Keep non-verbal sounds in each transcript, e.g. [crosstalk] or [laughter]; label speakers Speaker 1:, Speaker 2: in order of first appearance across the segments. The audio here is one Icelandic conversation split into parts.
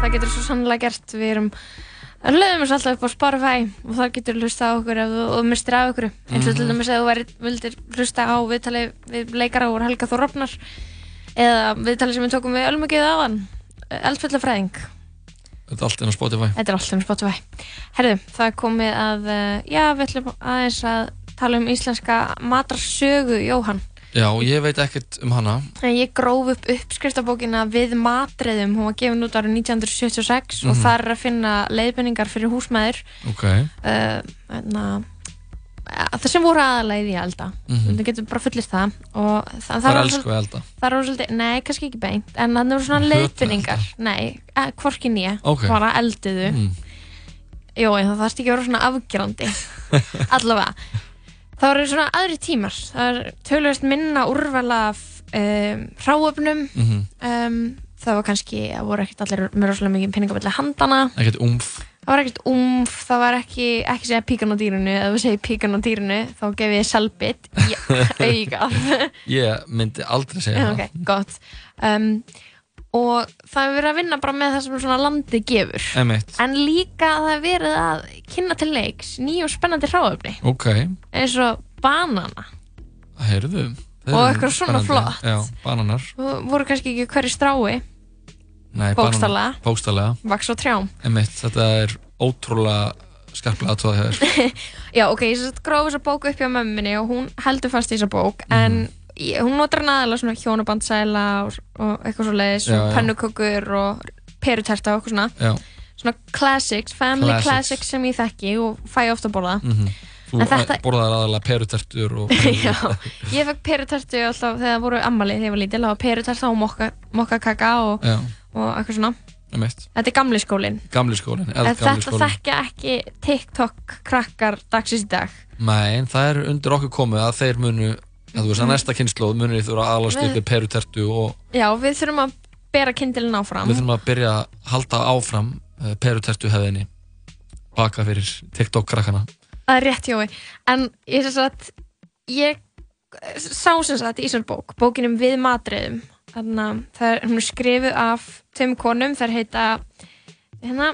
Speaker 1: það getur svo sannlega gert. Við erum að lögum þessu alltaf upp á Spotify og þar getur hlusta á okkur ef þú og mistir af okkur. Eins og til dæmis ef þú væri, vildir hlusta á viðtalið við leikara úr Helga Þór Rofnar eða viðtalið sem við tókum við Ölmugið áðan, Eldfjallafræðing.
Speaker 2: Þetta er allt inn á Spotify.
Speaker 1: Þetta er alltaf um Spotify. Herðu, það er komið að, eh, já, við ætlum aðeins að tala um íslenska matarsögu Jóhann.
Speaker 2: Já, ég veit ekkert um hana.
Speaker 1: En ég gróf upp uppskriftabókina við matreðum, hún var gefin út árið 1976
Speaker 2: Mhm.
Speaker 1: og þar er að finna leiðbendingar fyrir húsmaður
Speaker 2: Ok.
Speaker 1: uh, na, eh, það sem voru aðalæði í elda
Speaker 2: Mhm.
Speaker 1: þú getur bara fullist það og það,
Speaker 2: Það
Speaker 1: það
Speaker 2: er
Speaker 1: var
Speaker 2: elsku að elda.
Speaker 1: það var svolítið, nei, kannski ekki beint en þannig voru svona
Speaker 2: Hlutu
Speaker 1: leiðbendingar nei, eh, hvorki nýja,
Speaker 2: Ok.
Speaker 1: bara eldiðu
Speaker 2: Mm.
Speaker 1: Jó, en það þarfst ekki að vera svona afgerandi
Speaker 2: [laughs]
Speaker 1: Allavega Það eru svona aðri tímar Það er tölvöld minna úrvala af um, ráöfnum
Speaker 2: Mhm.
Speaker 1: um, Það var kannski, það voru ekkert allir með rosalega mikið peningaballi handana
Speaker 2: Ekkert umf.
Speaker 1: Það var ekkert umf, það var ekki ekki segja píkan á dýrinu, ef þú segir píkan á dýrinu þá gef ég selbit augað,
Speaker 2: Ég myndi aldrei segja
Speaker 1: ok, gott um, og það er verið að vinna bara með það sem svona landi gefur
Speaker 2: það. Emitt.
Speaker 1: en líka að það er verið að kynna til leiks ný og spennandi hráöfni
Speaker 2: Ok.
Speaker 1: eins og banana
Speaker 2: Heyrðu. þeir
Speaker 1: Og
Speaker 2: eru
Speaker 1: eitthvað svona
Speaker 2: spennandi.
Speaker 1: flott.
Speaker 2: Já, bananar.
Speaker 1: Þú voru kannski ekki hverju strái
Speaker 2: Nei, bananar.
Speaker 1: bókstallega,
Speaker 2: Bókstallega.
Speaker 1: vaks og trjám
Speaker 2: Emitt, þetta er ótrúlega skarplega að tóða þér.
Speaker 1: já ok, ég sett gróf þessa bók upp hjá mömminni og hún heldur fast í þessa bók
Speaker 2: Mhm.
Speaker 1: en ég, hún notar hann aðalega svona hjónabandsæla og, og eitthvað svo leiðis
Speaker 2: Já, já.
Speaker 1: pönnukökur og peruterta og eitthvað svona
Speaker 2: Já.
Speaker 1: svona classics, family
Speaker 2: Classics.
Speaker 1: classics, sem ég þekki og fæ ofta að borða
Speaker 2: mhm. Þú
Speaker 1: En þetta-
Speaker 2: borðar aðalega perutertur
Speaker 1: [laughs]
Speaker 2: og...
Speaker 1: Já, ég fekk perutertu alltaf þegar það voru ammali þegar ég var lítil, það var peruterta og mokka, mokkakaka og,
Speaker 2: Já,
Speaker 1: og eitthvað svona
Speaker 2: emitt.
Speaker 1: Þetta er gamli skólinn.
Speaker 2: Gamli skólinn.
Speaker 1: En
Speaker 2: eldgamli
Speaker 1: þetta
Speaker 2: skólinn.
Speaker 1: þekkja ekki TikTok krakkar dagsins í dag.
Speaker 2: Nei, en það er undir okkur komið að þeir munu að þú veist
Speaker 1: Mhm.
Speaker 2: að næsta kynnslóð munu þú að alast
Speaker 1: Við-
Speaker 2: upp í perutertu og
Speaker 1: Já, við þurfum að bera kindilin áfram.
Speaker 2: við þurfum að byrja að halda áfram uh, perutertu hefðinni baka fyrir TikTok krakkana
Speaker 1: Það er rétt hjói. En ég sem sagt, ég sá sem sagt í þessum bók, bókinum við matriðum. Þannig að það er, hún er skrifuð af tveim konum, þær heita, hérna,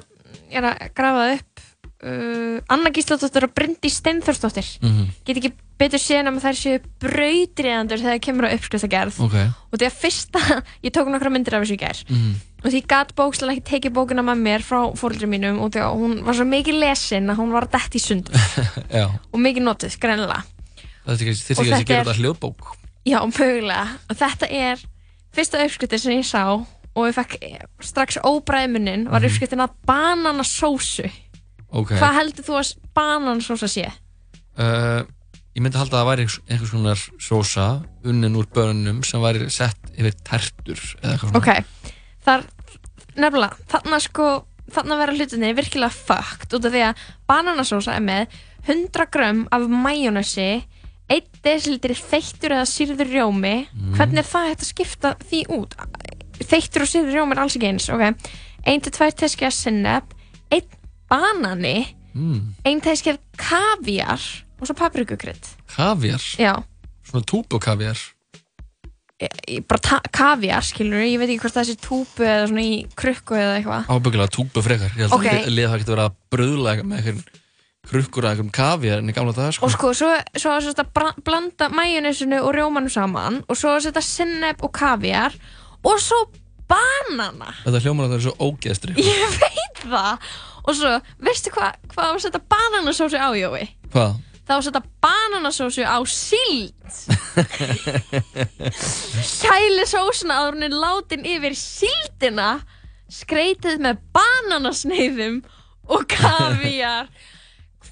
Speaker 1: ég er að grafa það upp, uh, Anna Gísladóttir og Bryndi Steinþórsdóttir.
Speaker 2: mm -hmm.
Speaker 1: Get ekki betur séð um að þær séu brautriðandur þegar það kemur á uppskriftagerð.
Speaker 2: Ok
Speaker 1: og því að fyrsta, [laughs] ég tók nokkra myndir af þessu í gær
Speaker 2: mm.
Speaker 1: og því ég gat bókslega ekki tekið bókina með mér frá fóröldri mínum og því að hún var svo mikið lesin að hún var dætt í sundur
Speaker 2: Já,
Speaker 1: og mikið notuð, greinilega
Speaker 2: þetta er ekki
Speaker 1: Og
Speaker 2: þyrfti ekki að
Speaker 1: þetta
Speaker 2: gera
Speaker 1: er-
Speaker 2: þetta hljóðbók
Speaker 1: já, mögulega, og þetta er fyrsta uppskriftin sem ég sá og ég fekk strax óbræðmunnin var uppskriftin að bananasósu
Speaker 2: Ok
Speaker 1: hvað heldur þú að bananasósa sé?
Speaker 2: uh, Ég myndi halda að það væri einhvers- einhvers konar sósa unnin úr bönum sem væri sett yfir tertur eða eitthvað svona
Speaker 1: ok, þar nefnilega, þarna sko þarna vera hlutinni virkilega fucked út af því að bananasósa er með 100 grömm af majónesi 1 dl þeittur eða sýrður rjómi hvernig er það hægt að skipta því út þeittur og sýrður rjómi er alls ekki eins ok, 1-2 teskja sinneb 1 banani
Speaker 2: mm.
Speaker 1: 1 teskja kaviar og svo paprikukrydd
Speaker 2: Kaviar,
Speaker 1: já,
Speaker 2: svona túbukaviar
Speaker 1: ég- bara ta- kaviar skilur ég veit ekki hvort það sé túpu eða svona í krukku eða eitthvað
Speaker 2: Ábyggilega túbu frekar Ég held
Speaker 1: Ok.
Speaker 2: okay. að liða það getur verið að bröðla með einhverjum krukkur eða einhverjum kaviar en í gamla daga sko.
Speaker 1: og sko, svo, svo að þetta bra- blanda majónesinu og rjómanu saman og svo að þetta sinneb og kaviar og svo banana
Speaker 2: Þetta hljómar að það er svo ógeðstri
Speaker 1: ég veit það og svo, veistu hvað hva á að setja bananasósu á, Jói?
Speaker 2: Hvað?
Speaker 1: Það á að setja bananasósu á síld kæli sósuna að hún er látin yfir síldina skreitið með bananasneiðum og kaviar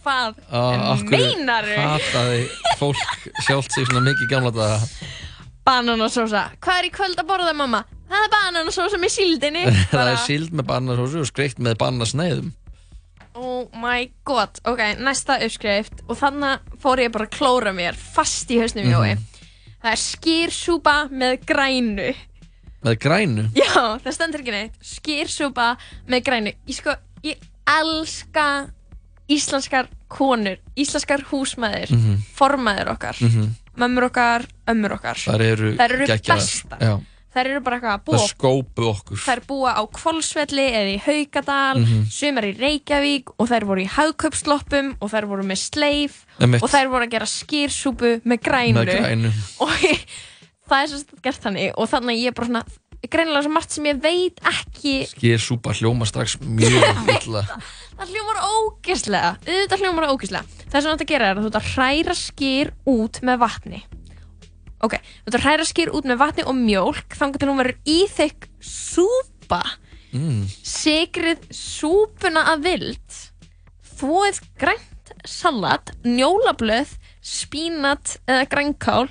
Speaker 1: hvað meinaru?
Speaker 2: Hataði fólk sjálft sig svona mikið í gamla daga
Speaker 1: Bananasósa, hvað er í kvöld að borða mamma? Það er bananasósa með síldinni
Speaker 2: [laughs] Það
Speaker 1: Bara,
Speaker 2: er síld með banasósu og skreitt með banasneiðum
Speaker 1: Oh my god, ok, næsta uppskrift Og þannig fór ég bara að klóra mér Fast í hausnum
Speaker 2: Mhm.
Speaker 1: Jói Það er skýrsúpa með grænu [laughs]
Speaker 2: Með grænu
Speaker 1: Já, það stendur ekki neitt Skýrsúpa með grænu Ég sko, ég elska Íslenskar konur Íslenskar húsmaður,
Speaker 2: Mhm.
Speaker 1: formaður okkar
Speaker 2: Mhm.
Speaker 1: Mömmur okkar, ömmur okkar
Speaker 2: Það eru
Speaker 1: Þær eru
Speaker 2: geggjaðar.
Speaker 1: bestar.
Speaker 2: Já,
Speaker 1: þær eru bara eitthvað að
Speaker 2: það
Speaker 1: búa á
Speaker 2: skópu okkur
Speaker 1: þær búa á Kvolsvelli eða í Haugadal
Speaker 2: Mhm.
Speaker 1: sumar í Reykjavík og þær voru í haugköpsloppum og þær voru með sleif
Speaker 2: Einmitt.
Speaker 1: og þær voru að gera skýrsúpu með grænu,
Speaker 2: með grænu
Speaker 1: [laughs] og það er svo stætt gert þannig og þannig að ég er bara svona greinilega svo margt sem ég veit ekki
Speaker 2: sker súpa hljóma strax mjög
Speaker 1: [laughs]
Speaker 2: illa
Speaker 1: það hljómar ógeðslega auðvitað hljómar það ógeðslega það sem þú átt að gera er að þú ert að hræra skýr út með vatni ok, þú ert að hræra skýr út með vatni og mjólk þangar til hún verður í þekk súpa
Speaker 2: mm.
Speaker 1: sigrið súpuna að vild þvóið grænt salat, njólablöð spínat eða grænkál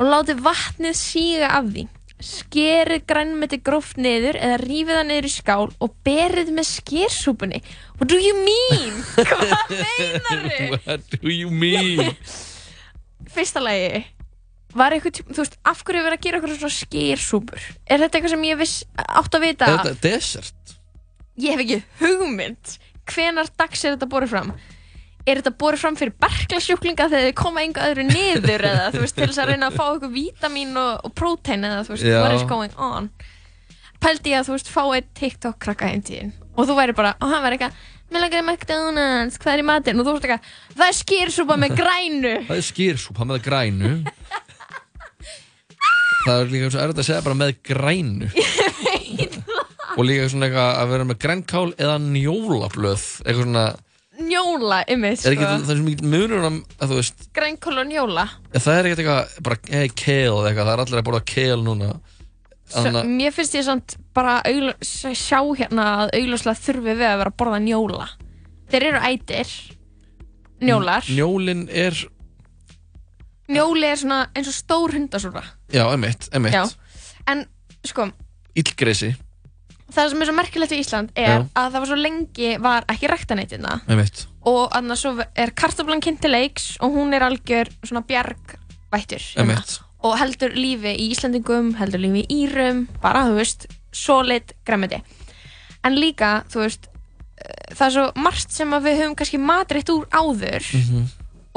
Speaker 1: og látið vatnið síga af því skerið grænmeti gróft niður eða rífið það niður í skál og berið með skersúpunni what do you mean?
Speaker 2: [laughs]
Speaker 1: hvað meinaru?
Speaker 2: What do you mean?
Speaker 1: fyrsta lagi var eitthvað, tíma, þú veist, af hverju er verið að gera eitthvað svona skersúpur? er þetta eitthvað sem ég viss, átt að vita?
Speaker 2: Er þetta desert?
Speaker 1: ég hef ekki hugmynd hvenar dags er þetta borið fram er þetta borið fram fyrir berklasjúklinga þegar þið koma enga öðru niður eða þú veist til þess að reyna að fá eitthvað vítamin og, og prótein eða þú veist
Speaker 2: Já.
Speaker 1: what is going on pældi ég að þú veist fá eitt TikTok krakka einn tíðin og þú væri bara og hann væri eitthvað mér langar í McDonalds, hvað er í matinn og þú veist eitthvað, það er skýrsúpa með grænu
Speaker 2: Það er skersúpa með grænu Það er líka svo erfitt að segja bara með grænu Og líka svona eitthvað að vera með grænkál eða njólablöð Eitthvað svona,
Speaker 1: njóla ymmið
Speaker 2: er ekki,
Speaker 1: sko,
Speaker 2: það er svo mikið munur um, að þú veist,
Speaker 1: grænkól og njóla
Speaker 2: það er ekkert eitthvað bara, hey, kale eða eitthvað, það er allir að borða kale núna
Speaker 1: Svo,
Speaker 2: Þannig
Speaker 1: mér finnst ég samt bara augl- s- sjá hérna að augljóslega þurfi við að vera að borða njóla þeir eru ætir njólar
Speaker 2: að njólin er
Speaker 1: njóli er svona eins og stór hundasúra
Speaker 2: Já, emitt,
Speaker 1: já,
Speaker 2: emitt,
Speaker 1: en sko
Speaker 2: illgresi
Speaker 1: það sem er svo merkilegt í Ísland er
Speaker 2: Já.
Speaker 1: að það var svo lengi var ekki ræktanætina
Speaker 2: Emitt,
Speaker 1: og annars svo er kartoflan kynnt til leiks og hún er algjör svona bjargvættur hérna.
Speaker 2: emitt
Speaker 1: og heldur lífi í Íslandingum, heldur lífi í Írum, bara, þú veist, solid græmiti. En líka, þú veist, eh, það er svo margt sem að við höfum kannski matrætt úr áður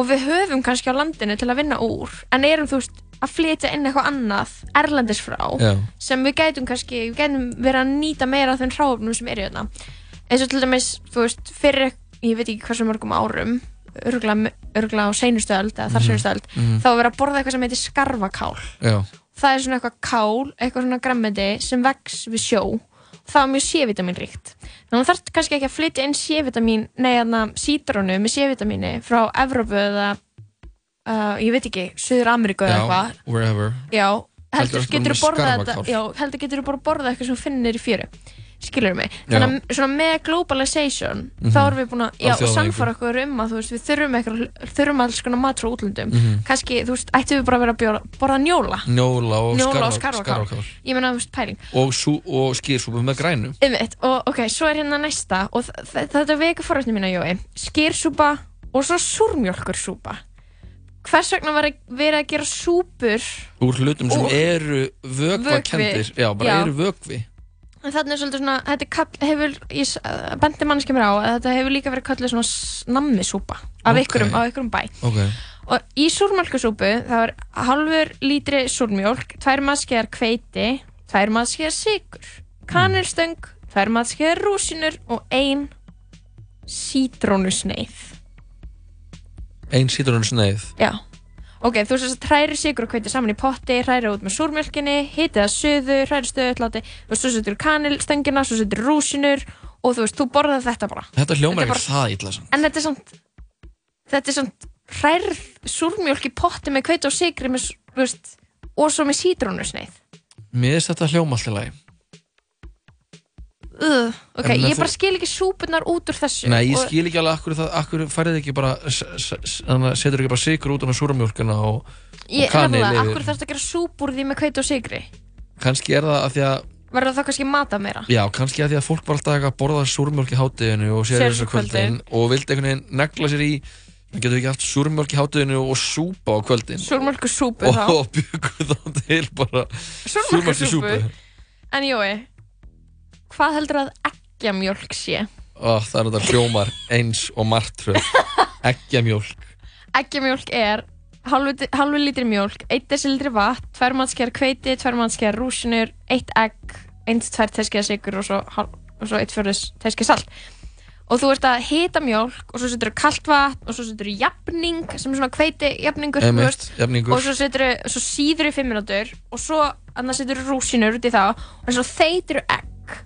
Speaker 1: og við höfum kannski á landinu til að vinna úr, en erum, þú veist, að flytja inn eitthvað annað erlendis frá
Speaker 2: Já,
Speaker 1: sem við gætum kannski, við gætum verið að nýta meira af þeim hráöfnum sem eru hérna eins og til dæmis, þú veist, fyrir ég veit ekki hversu mörgum árum örgla, örgla á seinustöld eða þar seinustöld, þá er verið að borða eitthvað sem heitir skarfakál,
Speaker 2: já,
Speaker 1: það er svona eitthvað kál eitthvað svona græmmedi sem vex við sjó, það er mjög C-vitaminríkt þannig að þarf kannski ekki að flytja inn C-vitamin, nei, þannig sítrónu með C-vitamini frá Evrópu eða uh, ég veit ekki, Suður Ameríku eða
Speaker 2: já,
Speaker 1: eitthvað
Speaker 2: wherever
Speaker 1: Já, heldur
Speaker 2: Heldur þetta
Speaker 1: getur
Speaker 2: með
Speaker 1: borðað
Speaker 2: skarfakál?
Speaker 1: þetta Já, heldur getur borðað borða eitthvað sem þú finnir í fjöru skilur mig,
Speaker 2: Já. Mhm.
Speaker 1: þannig að svona með globalization þá erum við búin að, já, og
Speaker 2: Alþjóðavæðingu.
Speaker 1: samfara okkur um að þú veist, við þurfum eitthvað, þurfum alls konar mat frá útlöndum,
Speaker 2: Mhm.
Speaker 1: kannski, þú veist, ættum við bara að vera að bjóra, borða njóla
Speaker 2: Njóla og,
Speaker 1: Njóla og
Speaker 2: skarfa-
Speaker 1: skarfakál. ég meina, þú veist, pæling
Speaker 2: og, sú- og skýrsúpa með grænu
Speaker 1: Einmitt, og ok, svo er hérna næsta og þ- þ- þetta veku forrætni mína, Jói skýrsúpa og svo súrmjólkursúpa hvers vegna var verið að gera súpur
Speaker 2: úr hlutum sem
Speaker 1: Og-
Speaker 2: eru vökvakendir já, bara
Speaker 1: Já.
Speaker 2: eru vökvi
Speaker 1: En þarna er svolítið svona, þetta er kall, hefur, ég s- eh, bendi mannskjum mér á að þetta hefur líka verið kallið svona snammisúpa af
Speaker 2: Ókei.
Speaker 1: ykkurum, á ykkurum bæ.
Speaker 2: okay.
Speaker 1: Og í súrmjölkusúpu þá er halvur lítri súrmjölk, tvær maðskeiðar hveiti, tvær maðskeiðar sigur, kanilstöng, tvær maðskeiðar rúsinur og ein sítrónusneið.
Speaker 2: ein sítrun sneið
Speaker 1: Já. Ok, þú veist þess að hræri sigur og hveiti saman í potti, hræri út með súrmjölkinni, hitið það suður, hræri stöðutláti, þú veist, þú setur kanilstöngina, þú setur rúsinur og þú veist, þú borðar þetta bara.
Speaker 2: þetta hljómar
Speaker 1: Þetta er
Speaker 2: ekki það illa samt
Speaker 1: En þetta er samt, þetta er samt hrærð súrmjölk í potti með hveiti og sigri með, s- þú veist, og svo með sítrónusneið.
Speaker 2: mér finnst þetta hljóma allir lagi
Speaker 1: Uh, ok,
Speaker 2: En
Speaker 1: ég
Speaker 2: þú-
Speaker 1: bara skil ekki súpunar út úr þessu.
Speaker 2: nei, ég
Speaker 1: Og-
Speaker 2: skil ekki alveg akkur, það, akkur færið ekki bara s- s- s- þannig að setur ekki bara sigur út á súramjólkuna og
Speaker 1: Ég,
Speaker 2: og kanil
Speaker 1: nefnilega,
Speaker 2: yfir.
Speaker 1: akkur þarfst að gera súp úr því með hveiti og sigri?
Speaker 2: kannski er það að því að
Speaker 1: Verður það kannski mata meira?
Speaker 2: já, kannski að því að fólk var alltaf að borða súramjólk í hátíðinu og sér
Speaker 1: Sér
Speaker 2: þessu
Speaker 1: svo
Speaker 2: kvöldin og vildi einhvern veginn negla sér í getur við ekki haft súramjólk í hátíðinu og súpa á kvöldin
Speaker 1: Súrmjölkusúpu
Speaker 2: og,
Speaker 1: þá.
Speaker 2: og byggur þá til bara
Speaker 1: Súrmjölkusúpu.
Speaker 2: súramjólk
Speaker 1: En Jói, hvað heldur að eggjamjólk sé?
Speaker 2: Ó,
Speaker 1: [laughs]
Speaker 2: það er þetta hljómar eins og martröð Eggjamjólk
Speaker 1: Eggjamjólk er halvu lítri mjólk, 1 decilitri vatn, 2 mannskjær kveiti, 2 mannskjær rúsinur, 1 egg, 1-2 teskjær sigur og svo, hál- og svo 1 fjörðis teskjær salt. Og þú ert að hita mjólk og svo setur þú kalt vatn og svo setur þú jafning sem er svona kveiti jafningur, þú veist,
Speaker 2: Einmitt, jafningur.
Speaker 1: og svo, seturu, svo síður í 5 minútur og svo annars setur þú rúsinur út í þá og svo þeitir þú egg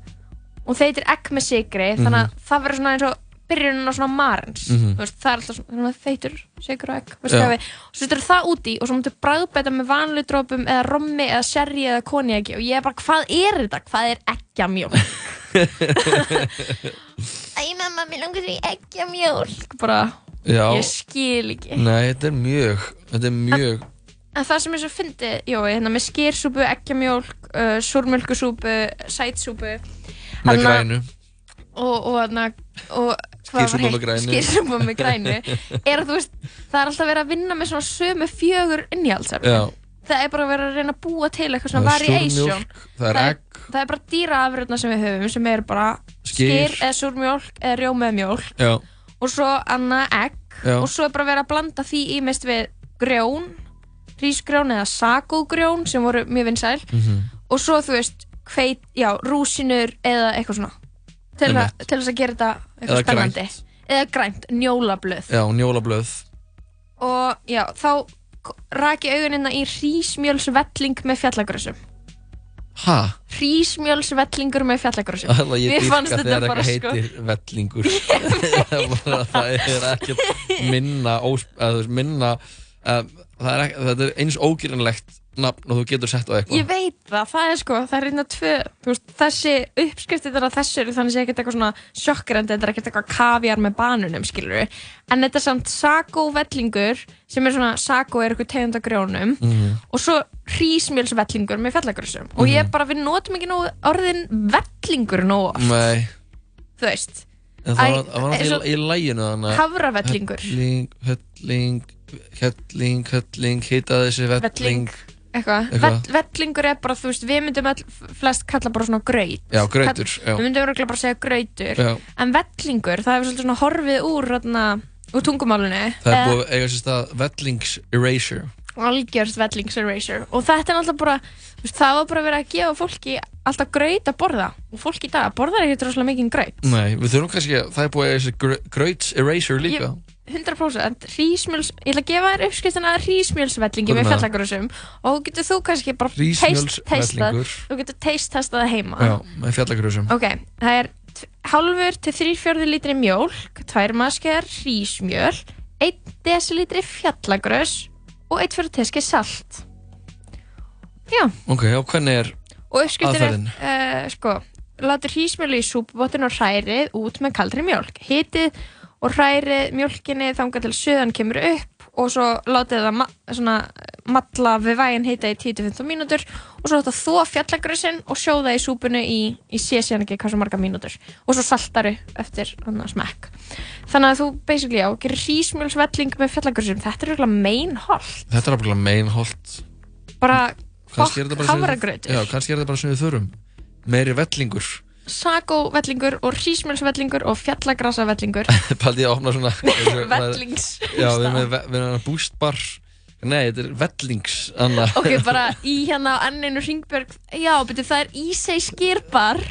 Speaker 1: og þeitir egg með sigri þannig að það verður svona eins og byrjunin á svona marins mm
Speaker 2: Mhm.
Speaker 1: veist, það er alltaf svona þannig að þeitur sigur og egg
Speaker 2: Já.
Speaker 1: ja. og svo setur þú það út í og svo mútu bragðbæta með vanlu drópum eða rommi eða sherry eða koniaki og ég er bara hvað er þetta, hvað er
Speaker 2: [laughs]
Speaker 1: eggjamjólk Æ mamma, mér langar því eggjamjólk bara,
Speaker 2: Já,
Speaker 1: ég skil ekki
Speaker 2: nei, þetta er mjög, þetta er mjög,
Speaker 1: En það sem ég svo fyndi, jói, hérna með skýrsúpu, eggjamjólk, uh, súrmjölkusúpu, sætsúpu
Speaker 2: með
Speaker 1: Hanna-
Speaker 2: grænu.
Speaker 1: og, og, hérna, og
Speaker 2: Skyrsúpa með grænu.
Speaker 1: Skýrsúpu með
Speaker 2: [laughs]
Speaker 1: grænu. er að þú veist, það er alltaf verið að vinna með svona sömu fjögur innihaldsamt.
Speaker 2: Já,
Speaker 1: Það er bara verið að reyna að búa til eitthvað
Speaker 2: það
Speaker 1: svona
Speaker 2: er
Speaker 1: variation.
Speaker 2: súrmjólk, það er
Speaker 1: Það er-
Speaker 2: egg,
Speaker 1: Það er bara dýraafröðna sem við höfum sem er bara
Speaker 2: Skyr.
Speaker 1: skyr eða súrmjólk eða rjómið mjólk
Speaker 2: já,
Speaker 1: og svo annað egg
Speaker 2: Já.
Speaker 1: og svo er bara verið að blanda því ímest við grjón, rísgrjón eða sagógrjón sem voru mjög vinsæl
Speaker 2: mhm,
Speaker 1: og svo þú veist hveit, já, rúsinur eða eitthvað svona til, að,
Speaker 2: Einmitt.
Speaker 1: til þess að gera þetta eitthvað
Speaker 2: Eða
Speaker 1: spennandi
Speaker 2: grænt.
Speaker 1: eða grænt, njólablöð
Speaker 2: já, njólablöð,
Speaker 1: og já, þá k- rak ég augunina í hrísmjölsvelling með fjallagrössum
Speaker 2: ha,
Speaker 1: hrísmjölsvellingur með fjallagrössum
Speaker 2: alveg
Speaker 1: Mér
Speaker 2: ég
Speaker 1: fannst
Speaker 2: dyrka
Speaker 1: þetta
Speaker 2: þegar
Speaker 1: bara,
Speaker 2: eitthvað
Speaker 1: sko.
Speaker 2: heitir
Speaker 1: [laughs]
Speaker 2: vellingur, [laughs] Bara það er ekkert minna, ós, að, þú veist, minna, að, það er ekki, þetta er eins ógerinlegt nafn og þú getur sett á
Speaker 1: ég
Speaker 2: eitthvað.
Speaker 1: veit það, það er sko, það er einna tvö þú veist, þessi uppskrift þetta þessu eru þannig sé ekkert eitthvað svona sjokkrandi þetta er ekkert eitthvað kaviar með banunum skilur en þetta er samt sagóvellingur sem er svona, sagó er eitthvað tegund af grjónum
Speaker 2: Mhm.
Speaker 1: og svo hrísmjölsvellingur með fellagrössum og ég bara, við notum ekki nógu orðin vellingur nógu oft,
Speaker 2: Nei,
Speaker 1: þú veist
Speaker 2: en það
Speaker 1: Æ,
Speaker 2: var, það var
Speaker 1: eins og-
Speaker 2: náttúrulega í læginu þannig.
Speaker 1: havravellingur,
Speaker 2: Helling, helling, helling, helling, hita þessi
Speaker 1: velling
Speaker 2: velling.
Speaker 1: eitthvað,
Speaker 2: Eitthvað.
Speaker 1: Vell, vellingur er bara, þú veist, við myndum all, flest kalla bara svona graut
Speaker 2: Já, grautur, já.
Speaker 1: við myndum örugglega bara segja grautur
Speaker 2: já.
Speaker 1: en vellingur, það hefur svolítið svona horfið úr, þarna, úr tungumálinu
Speaker 2: Það er
Speaker 1: Eh,
Speaker 2: búið að eiga sér stað vellings erasure.
Speaker 1: algjörð vellings erasure og þetta er alltaf bara, þú veist, það var bara verið að gefa fólki alltaf graut að borða og fólk í dag borðar ekkert rosalega mikið graut
Speaker 2: Nei, við þurfum kannski að það er búið að eiga sér gr- grauts erasure líka.
Speaker 1: 100% hrísmjöls, ég ætla að gefa þér uppskriftina að hrísmjölsvellingi með
Speaker 2: Hvernig?
Speaker 1: fjallagrössum og þú getur þú kannski bara taste- tastað-
Speaker 2: Rísmjölsvellingur.
Speaker 1: þú getur taste-testað það heima
Speaker 2: Já, með fjallagröðsum.
Speaker 1: ok, það er tv- hálfur til þrýrfjörði lítri mjólk tvær maskar hrísmjöl 1 desilítri fjallagröss og 1 fyrir teski salt já,
Speaker 2: Ok, og hvernig er,
Speaker 1: og uppskriftin
Speaker 2: Aðferðin.
Speaker 1: er uh, sko, látur hrísmjölu í súpubottin og hrærið út með kaldri mjólk hitið og hrærið mjólkinni þangað til söðan kemur upp og svo látið það ma svona, matla við vægin hita í 10-15 mínútur og svo þetta þó fjallagrössin og sjóða í súpunu í, í sé síðan ekki hversu marga mínútur og svo saltaru eftir annað smekk þannig að þú basically á gerir hrísmjölsvelling með fjallagrössin þetta er eiginlega meinholt
Speaker 2: þetta er alveg meinholt.
Speaker 1: bara
Speaker 2: Kannski
Speaker 1: Fokk,
Speaker 2: er þetta bara sem við-
Speaker 1: hafragrautur.
Speaker 2: Já, kannski er þetta bara sem við þurfum. Meiri vellingur. [laughs]
Speaker 1: sagóvellingur og hrísmjölsvellingur og fjallagrasavellingur
Speaker 2: Paldi ég að opna
Speaker 1: [laughs]
Speaker 2: svona.
Speaker 1: vellings
Speaker 2: Já, við erum með, við erum með boost bar. Nei, þetta er vellings, Anna.
Speaker 1: ok, bara í hérna á enninu Ringbjörg já, betur það er Ísei skýrbar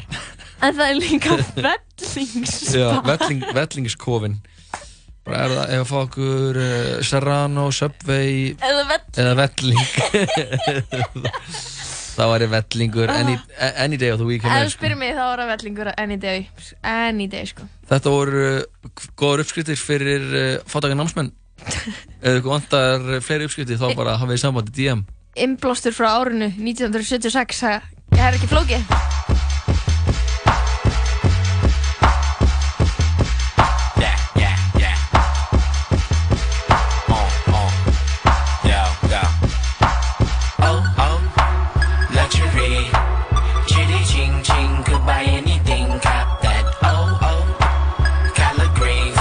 Speaker 1: en það er
Speaker 2: [laughs]
Speaker 1: líka vellings
Speaker 2: Já, velling, vellingskofin bara er það ef að fá okkur uh, Serrano, Subway
Speaker 1: eða vell
Speaker 2: eða velling [laughs] þá væri vellingur any, any day of the weekend
Speaker 1: eða
Speaker 2: er,
Speaker 1: þú
Speaker 2: sko.
Speaker 1: spyrir mig þá er það vellingur any day any day sko
Speaker 2: þetta voru uh, góður uppskriftir fyrir uh, fátakar námsmenn eða ykkur vantar uh, fleiri uppskriftir þá bara hafið þið sambandi DM
Speaker 1: innblástur frá árinu 1976 það það er ekki flókið
Speaker 3: Yeah, yeah, yeah. Oh, oh. Yo, yo. Oh, oh. Luxury. Chitty ching ching. Could buy anything. Cop that. Oh, oh. Color greens.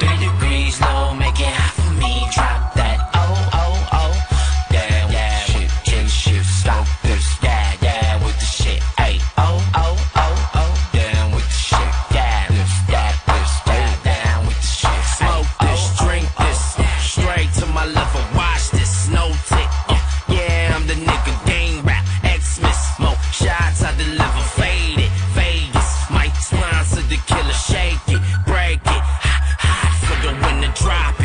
Speaker 3: Three degrees low. Make it hot for me. Drop that. Oh, oh, oh. Yeah, yeah. Shit, shit, shit. Stop this. Yeah, yeah. With the shit. Ayy. drop